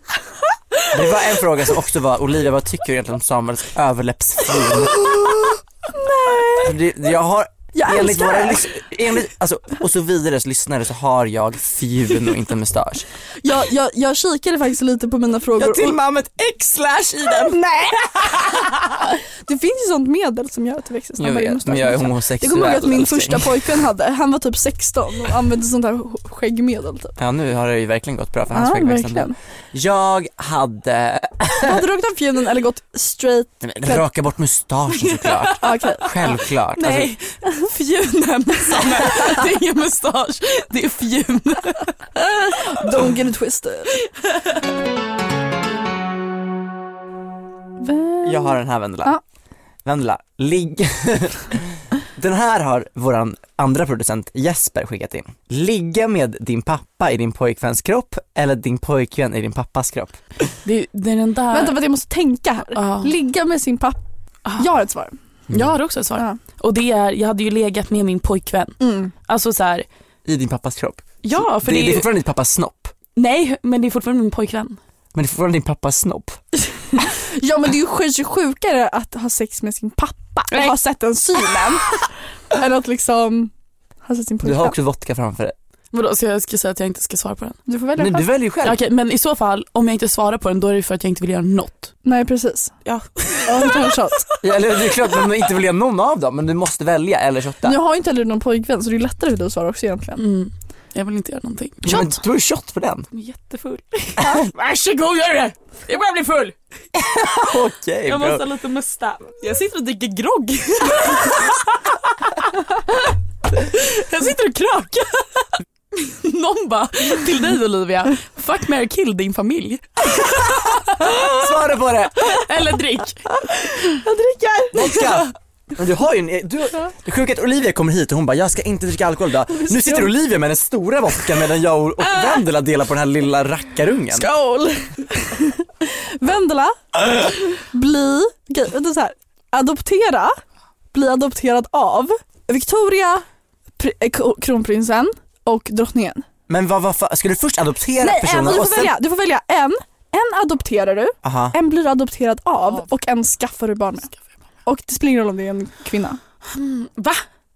Det var en fråga som också var, Olivia vad tycker du egentligen om Samuels överläppsfjun? Nej. Jag har, Jag enligt älskar våra det. lys- enligt, alltså, och så vidares lyssnare så har jag fjun och inte mustasch. Jag, jag, jag kikade faktiskt lite på mina frågor. och- med ett x slash i den. Nej! Det finns ju sånt medel som gör att det växer Jag snabbare i vet, men mustaschen. jag är Det homosexuell. kommer jag ihåg att min älskling. första pojkvän hade. Han var typ 16 och använde sånt här sk- skäggmedel typ. Ja nu har det ju verkligen gått bra för hans Ja, skäggväxt verkligen. Jag hade, Hade du rakt av fjunen eller gått straight? Nej, men raka bort mustaschen såklart. Ah, Okej. Självklart. Alltså, Nej, fjunen Samuel. Det är ingen mustasch, det är fjun. Don't get it twisted. Vem? Jag har den här Vendela. Ja. Vendela, ligg... den här har våran andra producent Jesper skickat in. Ligga med din pappa i din pojkväns kropp eller din pojkvän i din pappas kropp. Det är, det är den där... Vänta vad jag måste tänka här. Ja. Ligga med sin pappa. Jag har ett svar. Jag har också ett svar. Ja. Och det är, jag hade ju legat med min pojkvän. Alltså så här, I din pappas kropp. ja det, för det, det, är är ju, fortfarande din pappas snopp. nej men det är fortfarande min pojkvän. Men det är fortfarande din pappas snopp. Ja men det är ju sj- sjukare att ha sex med sin pappa och Nej. ha sett den synen. än att liksom ha sett sin Du pojkvän. har också vodka framför dig. Vadå så jag ska säga att jag inte ska svara på den? Du får välja Nej, själv. du väljer ju själv. Okej men i så fall om jag inte svarar på den då är det för att jag inte vill göra något. Nej precis. Ja. Ja, jag tar en shot. Ja, Eller det är klart att du inte vill göra någon av dem, men du måste välja eller shotta. Nu har ju inte heller någon pojkvän så det är lättare för dig att svara också egentligen. Mm. Jag vill inte göra någonting. Men Du har ju shot på den. Jag är jättefull. Varsågod gör det! Jag börjar bli full. Okej, bra. ha lite musta. Jag sitter och dricker grogg. jag sitter och krökar. Någon bara, till dig Olivia, fuck, marry, kill din familj. Svara på det. Eller drick. Jag dricker! Vodka! Men du har ju en, e- du, det är sjukt att Olivia kommer hit och hon bara jag ska inte dricka alkohol idag. Nu sitter Olivia med den stora vodkan medan jag och och Vendela delar på den här lilla rackarungen. Skål! Vendela, bli, okej vänta så här. adoptera, bli adopterad av Victoria, pr- eh, ko- kronprinsen och drottningen. Men vad, vad fa- ska du först adoptera Nej en, du personen och får sen, välja, du får välja en, en adopterar du, aha, en blir du adopterad av och en skaffar du barn med. Och det spelar ingen roll om det är en kvinna. Va?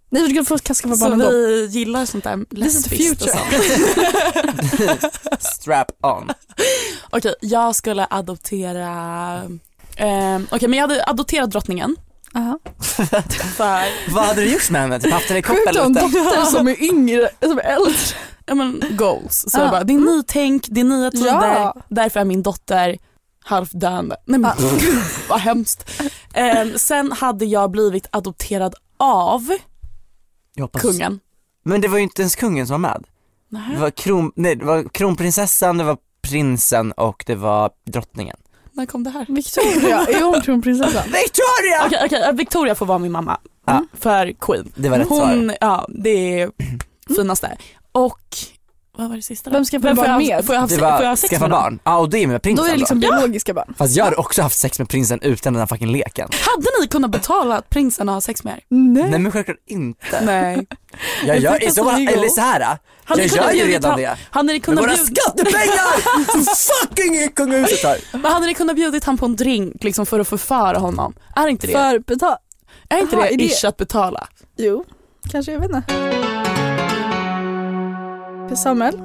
Nej för du kan få skaffa barn Så ändå. vi gillar sånt där This is the lesbiskt och future. sånt. strap on. Okej, jag skulle adoptera... ehm, Okej, men jag hade adopterat drottningen. Aha. För, Vad hade du gjort med henne? Typ haft henne i kopp Sjukt att eller ha en inte? dotter som är yngre, som är äldre. ja Mm. men goals. Så Ja. jag bara, det är nytänk, det är nya tider, Ja. därför är min dotter halvdöende. Nej men gud vad hemskt. Ehm, sen hade jag blivit adopterad av Jag hoppas- kungen. Men det var ju inte ens kungen som var med. Det var, kron, nej, det var kronprinsessan, det var prinsen och det var drottningen. När kom det här? Victoria, är hon kronprinsessan? Victoria! Okej, okej, Victoria får vara min mamma. Mm. Ja. För Queen. Det var rätt svar. Hon, ja det är finaste. Och vad var det sista då? Vem ska få får barn jag ha- med? Får jag ha, Det får jag ha var sex skaffa med någon? barn. Ja och det är med Då prinsen är det liksom då. biologiska barn. Fast jag hade också haft sex med prinsen utan den här fucking leken. Hade ni kunnat betala att prinsen har sex med er? Nej men självklart inte. Nej. Jag gör, i så fall, legal. eller så här. Hade jag ni kunnat gör ju bjudit redan han- det. Hade ni Med kunnat våra bjud- skattepengar som fucking kungahuset har. Men hade ni kunnat bjudit han på en drink liksom för att förföra honom? Är inte det, För betal... är inte Jaha, det, är det- ish att betala? Jo, kanske, jag vet inte. Samuel,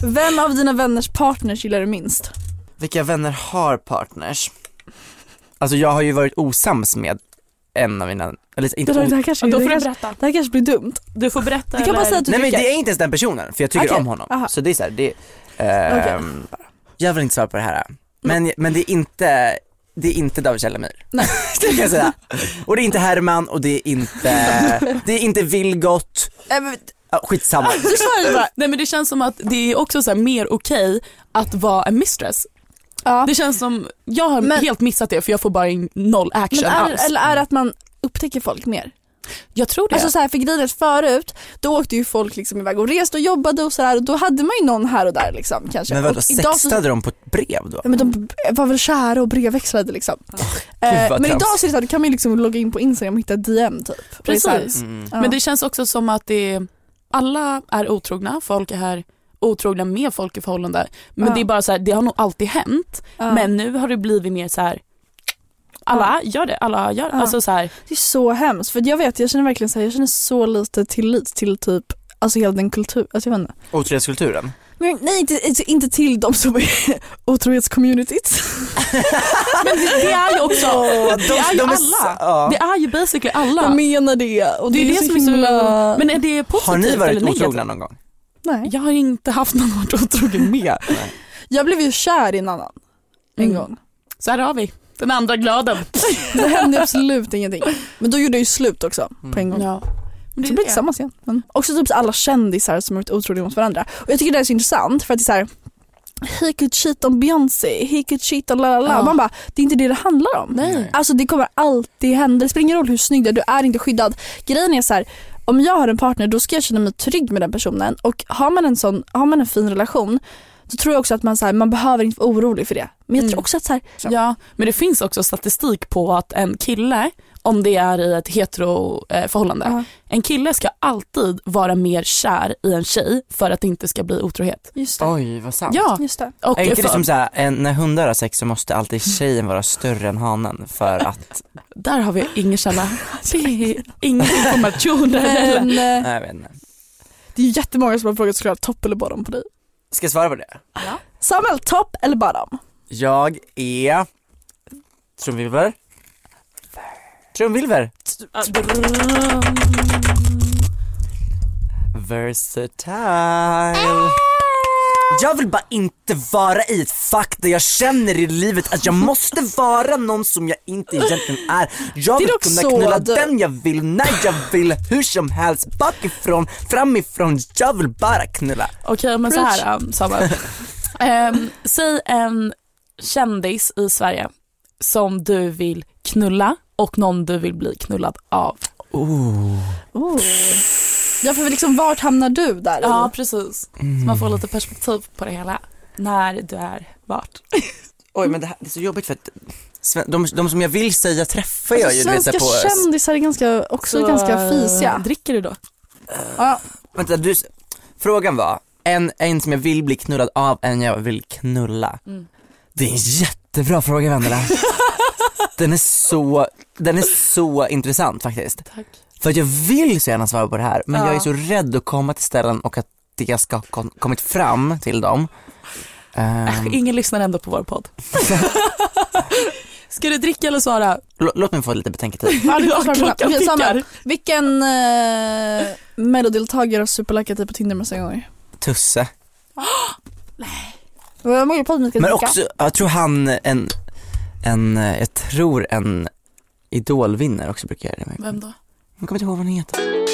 vem av dina vänners partners gillar du minst? Vilka vänner har partners? Alltså jag har ju varit osams med en av mina, eller inte Det, där- det, o- här, kanske, det, här, kanske, berätta. det här kanske blir dumt. Du får berätta Du kan bara säga att du Nej men tycker. det är inte ens den personen, för jag tycker Okej, om honom. aha. Så det är såhär, det är, ehm, Jag vill inte svara på det här. Men, men det är inte, det är inte David Källamyr. det kan jag säga. Och det är inte Herman och det är inte, det är inte Vilgot. Nej, men, Ah, skitsamma. du svarade bara. Nej men det känns som att det är också så här mer okej att vara en mistress. Ja. Det känns som, jag har Men- helt missat det för jag får bara in noll action Men alls. är, eller är det att man upptäcker folk mer? jag tror det. Alltså så här, för grejen är att förut, då åkte ju folk liksom iväg och reste och jobbade och sådär och då hade man ju någon här och där liksom kanske. Men vadå, och idag så, sextade de på ett brev då? Mm. ja, men de b- var väl kära och brevväxlade liksom. Gud, Eh, vad men trams. idag så är det så här, då kan man ju liksom logga in på Instagram och hitta DM typ. Och det är så här- Precis. Mm. Ja. Men det känns också som att det är, alla är otrogna, folk är här otrogna med folk i förhållande. Men Ja. det är bara så här, det har nog alltid hänt. Ja. Men nu har det blivit mer så här, alla gör det, alla gör det. Ja. Alltså så här, Det är så hemskt för jag vet, jag känner verkligen så här, jag känner så lite tillit till typ Alltså hela den kultur, alltså jag vet inte. Otrohetskulturen? Men, nej inte, inte- inte till de som är otrohetscommunityt. men det, det är ju också, det är ju de är alla. så- ja. Det är ju basically alla. De menar det och det, det är så det som är så, himla... men är det positivt Har ni varit eller negativt? otrogna någon gång? nej. Jag har inte haft någon varit otrogen med. Jag blev ju kär i en annan en Mm. gång. Så här har vi, den andra glöden. Det hände absolut ingenting. Men då gjorde jag ju slut också på en gång. Ja. Men Så blev vi det, tillsammans igen. Men också typ så alla kändisar som har varit otrogna mot varandra. Och jag tycker det är så intressant för att det är så här. He could cheat on Beyoncé, he could cheat on la la la. Ja. Man bara, det är inte det det handlar om. Nej. Alltså det kommer alltid hända. Det spelar ingen roll hur snygg du är, du är inte skyddad. Grejen är så här, om jag har en partner då ska jag känna mig trygg med den personen. Och har man en sån, har man en fin relation då tror jag också att man, så här, man behöver inte vara orolig för det. Men jag tror Mm. också att så här, ja, men det finns också statistik på att en kille, om det är i ett eh, heteroförhållande, Ja. en kille ska alltid vara mer kär i en tjej för att det inte ska bli otrohet. just det. Oj vad sant. Ja, Just det. och Är inte det för, som såhär, en- när hundar har sex så måste alltid tjejen vara större än hanen för att, där har vi ingen källa. Det är ingen information. Men, eh, nej jag vet inte. det är ju jättemånga som har frågat såklart topp eller bottom på dig. Ska jag svara på det? Samuel, topp eller bottom? Jag är trumvirvel. Trumvirvel. Versatile. Jag vill bara inte vara i ett fack där jag känner i livet att jag måste vara någon som jag inte egentligen är. Jag Det är vill dock kunna så knulla du- den jag vill, när jag vill, hur som helst, bakifrån, framifrån. Jag vill bara knulla. Okej men så här um, Samuel. Ehm, säg en kändis i Sverige som du vill knulla och någon du vill bli knullad av. Oh. Ja för liksom vart hamnar du där? i? Ja precis, så man får lite perspektiv på det hela. När du är vart. Mm. Oj men det, här, det är så jobbigt för att Sven- de, de som jag vill säga träffar jag ju Alltså, du vet, så svenska här på... kändisar är ganska, också Så, eh, ganska fisiga. Dricker du då? Ja. Vänta, du, frågan var, en, en som jag vill bli knullad av, en jag vill knulla. Mm. Det är en jättebra fråga Vendela. den, är så, den är så intressant faktiskt. Tack. För att jag vill så gärna svara på det här, men Ja. jag är så rädd att komma till ställen och att det ska ha kon- kommit fram till dem. Äh, Ehm, Ingen lyssnar ändå på vår podd. Ska du dricka eller svara? lå- låt mig få lite betänketid. Ja, det Ja, är klart. klockan Okej, Samuel, tickar. Vilken eh, mellodeltagare har superlackat dig på Tinder massa gånger? Tusse. Hur många podd ni ska Men dricka? också, jag tror han, en, en, eh, jag tror en idolvinnare också brukar göra det. Men Vem då? jag kommer inte ihåg vad han heter.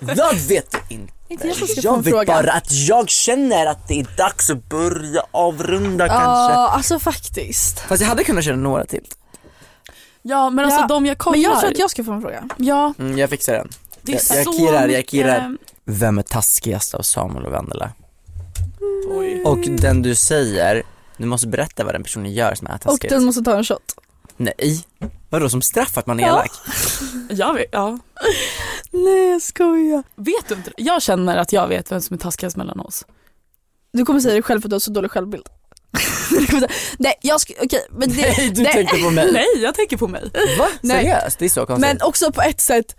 Jag vet inte. Inte jag som ska få en Jag vet fråga. bara att jag känner att det är dags att börja avrunda kanske. Ja, alltså faktiskt. Fast jag hade kunnat köra några till. Ja men alltså Ja, de jag kollar. Men jag tror att jag ska få en fråga. Ja, Mm, jag fixar den. det är Jag- jag så kirrar, jag mycket- kirrar. Vem är taskigast av Samuel och Vendela? Och den du säger, du måste berätta vad den personen gör som är Och taskigast. den måste ta en shot. Nej. Vadå som straff att man är Ja. elak? Jag vet, ja. Nej jag skojar. vet du inte det? Jag känner att jag vet vem som är taskigast mellan oss. Du kommer säga det själv för att du har så dålig självbild. Du kommer säga, nej jag ska, okej men det, Nej du tänkte på mig. Nej jag tänker på mig. Va? Nej. Seriöst? Det är så konstigt. Men också på ett sätt,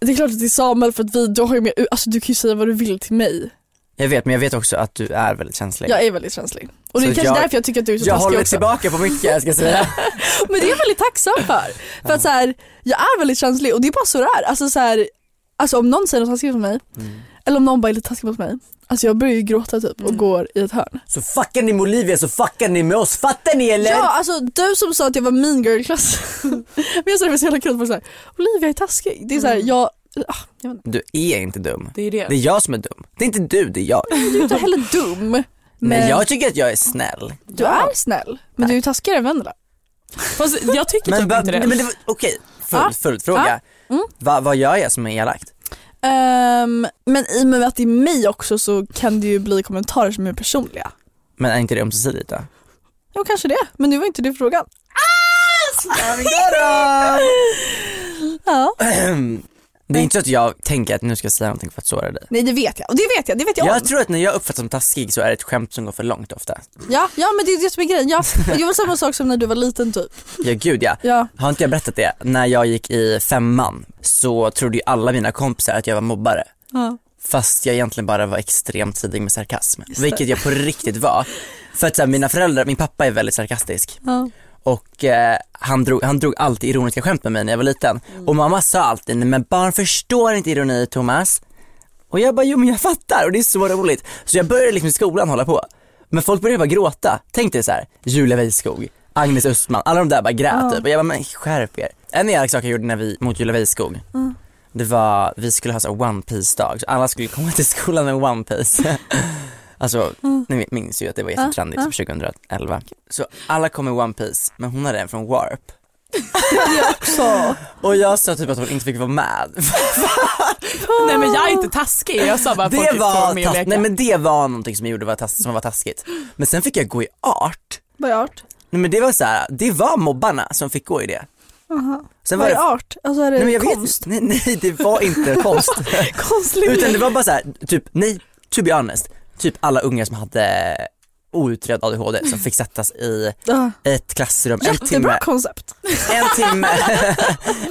det är klart att det är Samuel för att vi, du har ju mer, alltså du kan ju säga vad du vill till mig. Jag vet men jag vet också att du är väldigt känslig. Jag är väldigt känslig. Och det är Så kanske jag- därför jag tycker att du är så jag taskig håller också. tillbaka på mycket jag ska säga. Men det är jag väldigt tacksam för. För att så här, jag är väldigt känslig och det är bara så det är. Alltså, så här, alltså om någon säger något taskigt mot mig, Mm. eller om någon bara är lite taskig mot mig. Alltså jag börjar ju gråta typ och går i ett hörn. Så fuckar ni med Olivia så fuckar ni med oss, fattar ni eller? Ja alltså du som sa att jag var mean girl i klassen. Men jag sa det var så jävla kul, folk såhär Olivia är taskig. Det är Mm. såhär, jag, ah, jag vet inte. Du är inte dum. Det är det. Det är jag som är dum. Det är inte du, det är jag. du är inte heller dum. Men, Men jag tycker att jag är snäll. du är snäll. Men du är ju taskigare än Vendela. Fast jag tycker Men, typ va, inte det. nej, men det var, okej, full, Ja. följdfråga. Va, vad gör jag som är elakt? Ehm, men i och med att det är mig också så kan det ju bli kommentarer som är personliga. Men är inte det ömsesidigt då? Ja kanske det, men nu var inte det frågan. Ja. Det är inte så att jag tänker att nu ska jag säga någonting för att såra dig. Nej det vet jag, och det vet jag, det vet jag, Jag om. tror att när jag uppfattas som taskig så är det ett skämt som går för långt ofta. Ja, ja men det är det som är grejen. Ja, men det var samma sak som när du var liten typ. Ja gud ja. Ja. Har inte jag berättat det? När jag gick i femman så trodde ju alla mina kompisar att jag var mobbare. Ja. Fast jag egentligen bara var extremt tidig med sarkasm. Vilket jag på riktigt var. För att så här, mina föräldrar, min pappa är väldigt sarkastisk. Ja. Och eh, han, drog, han drog alltid ironiska skämt med mig när jag var liten. Och mamma sa alltid, "Nej, men barn förstår inte ironi Thomas. Och jag bara, jo men jag fattar och det är så roligt. Så jag började liksom i skolan hålla på. Men folk började bara gråta. Tänk dig så här, Julia Weiskog, Agnes Östman, alla de där bara grät typ. Och jag bara, men skärp er. En elak sak jag gjorde när vi, mot Julia Weiskog, det var, vi skulle ha så här One Piece dag så alla skulle komma till skolan med One Piece. Alltså, ni minns ju att det var jättetrendigt typ 2011. Så alla kom med One Piece men hon hade en från Warp. Så. Och jag sa typ att hon inte fick vara med. Nej men jag är inte taskig. Jag sa bara att folk inte Det typ får var, vara med och tas- leka. nej, men det var någonting som jag gjorde var tas- som var taskigt. Men sen fick jag gå i art. Vad är art? Nej men det var så här, det var mobbarna som fick gå i det. Sen Vad var är det, art? Alltså är det nej, men jag konst? Vet, nej, nej det var inte konst. Konstlig Utan det var bara så här, typ, nej, to be honest, typ alla unga som hade outredd ADHD som fick sättas i Ja. ett klassrum en Jättebra timme, koncept. en timme,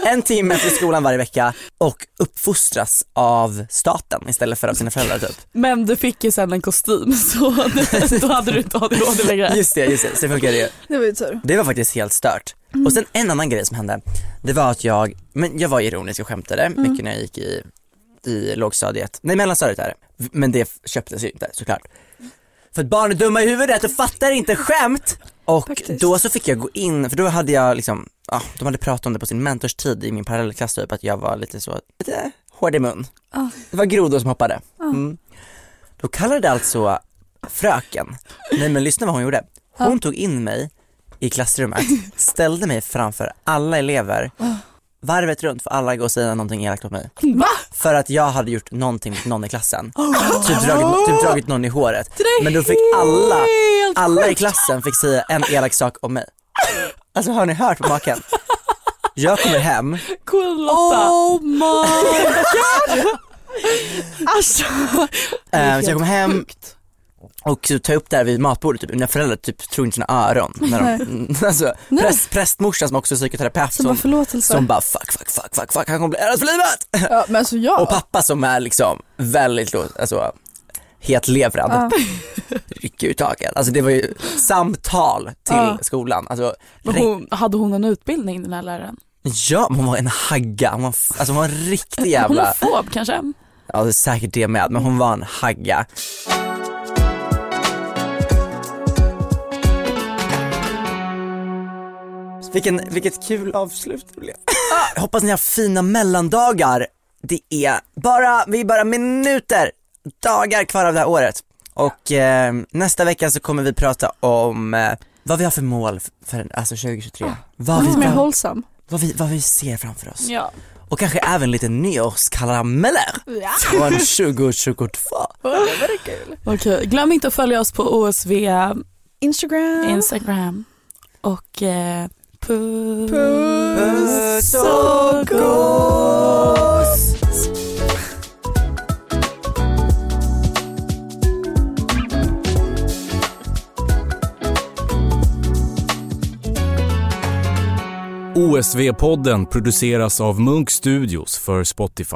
en timme efter skolan varje vecka och uppfostras av staten istället för av sina föräldrar typ. Men du fick ju sen en kostym så då hade du inte ADHD längre. Just det, just det, så funkar det ju. Det var ju tur. Det var faktiskt helt stört. Och sen en annan grej som hände, det var att jag, men jag var ironisk och skämtade mycket när jag gick i, i lågstadiet, nej mellanstadiet är det, men det f- köptes ju inte såklart. För att barn är dumma i huvudet och fattar inte skämt! Och Faktiskt. då så fick jag gå in, för då hade jag liksom, ja, de hade pratat om det på sin mentorstid i min parallellklass typ, att jag var lite så, lite hård i mun. Det var grodor som hoppade. Mm. Då kallade alltså fröken, nej men lyssna vad hon gjorde. Hon tog in mig i klassrummet, ställde mig framför alla elever, varvet runt för alla gå och säga någonting elakt mot mig. Va? För att jag hade gjort någonting mot någon i klassen. Oh. Typ, dragit, typ dragit någon i håret. är Men då fick alla, helt alla i klassen fick säga en elak sak om mig. Alltså har ni hört på maken? Jag kommer hem, Cool Lotta. Oh my god! Alltså, eh, så jag kom hem och så tar jag upp det här vid matbordet, typ. mina föräldrar typ tror inte sina öron. När de, alltså, präst, prästmorsan som också är psykoterapeut som bara som, förlåtelse. som bara fuck, fuck, fuck, fuck, fuck, han kommer bli ärad för livet. ja, men alltså Och jag, pappa som är liksom väldigt lo- alltså, hetlevrad. Rycker ur taket. Alltså det var ju samtal till Ja. skolan. Alltså, Men ri- Hon, hade hon en utbildning den här läraren? ja, men hon var en hagga. Hon var, f- alltså hon var en riktig Hon är jävla, fob kanske? ja det är säkert det med, men hon var en hagga. Vilken, vilket kul avslut det blev. Hoppas ni har fina mellandagar. Det är bara, vi är bara minuter, dagar kvar av det här året. Och eh, nästa vecka så kommer vi prata om eh, vad vi har för mål f- för alltså 2023. Vad, vi, Lite mer vad, hållsam. vad, vi, vad vi ser framför oss. Ja. Och kanske även lite nyårskarameller från 2022. Det var det kul. Okej, glöm inte att följa oss på OSV Instagram. Instagram och eh, puss. Puss och gos! OSV-podden produceras av Munk Studios för Spotify.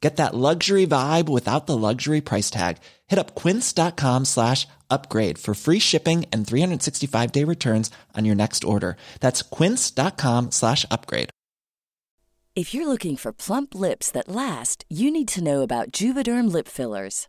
Get that luxury vibe without the luxury price tag. Hit up quince.com slash upgrade for free shipping and 365 day returns on your next order. That's quince.com slash upgrade. If you're looking for plump lips that last, you need to know about Juvederm lip fillers.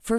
For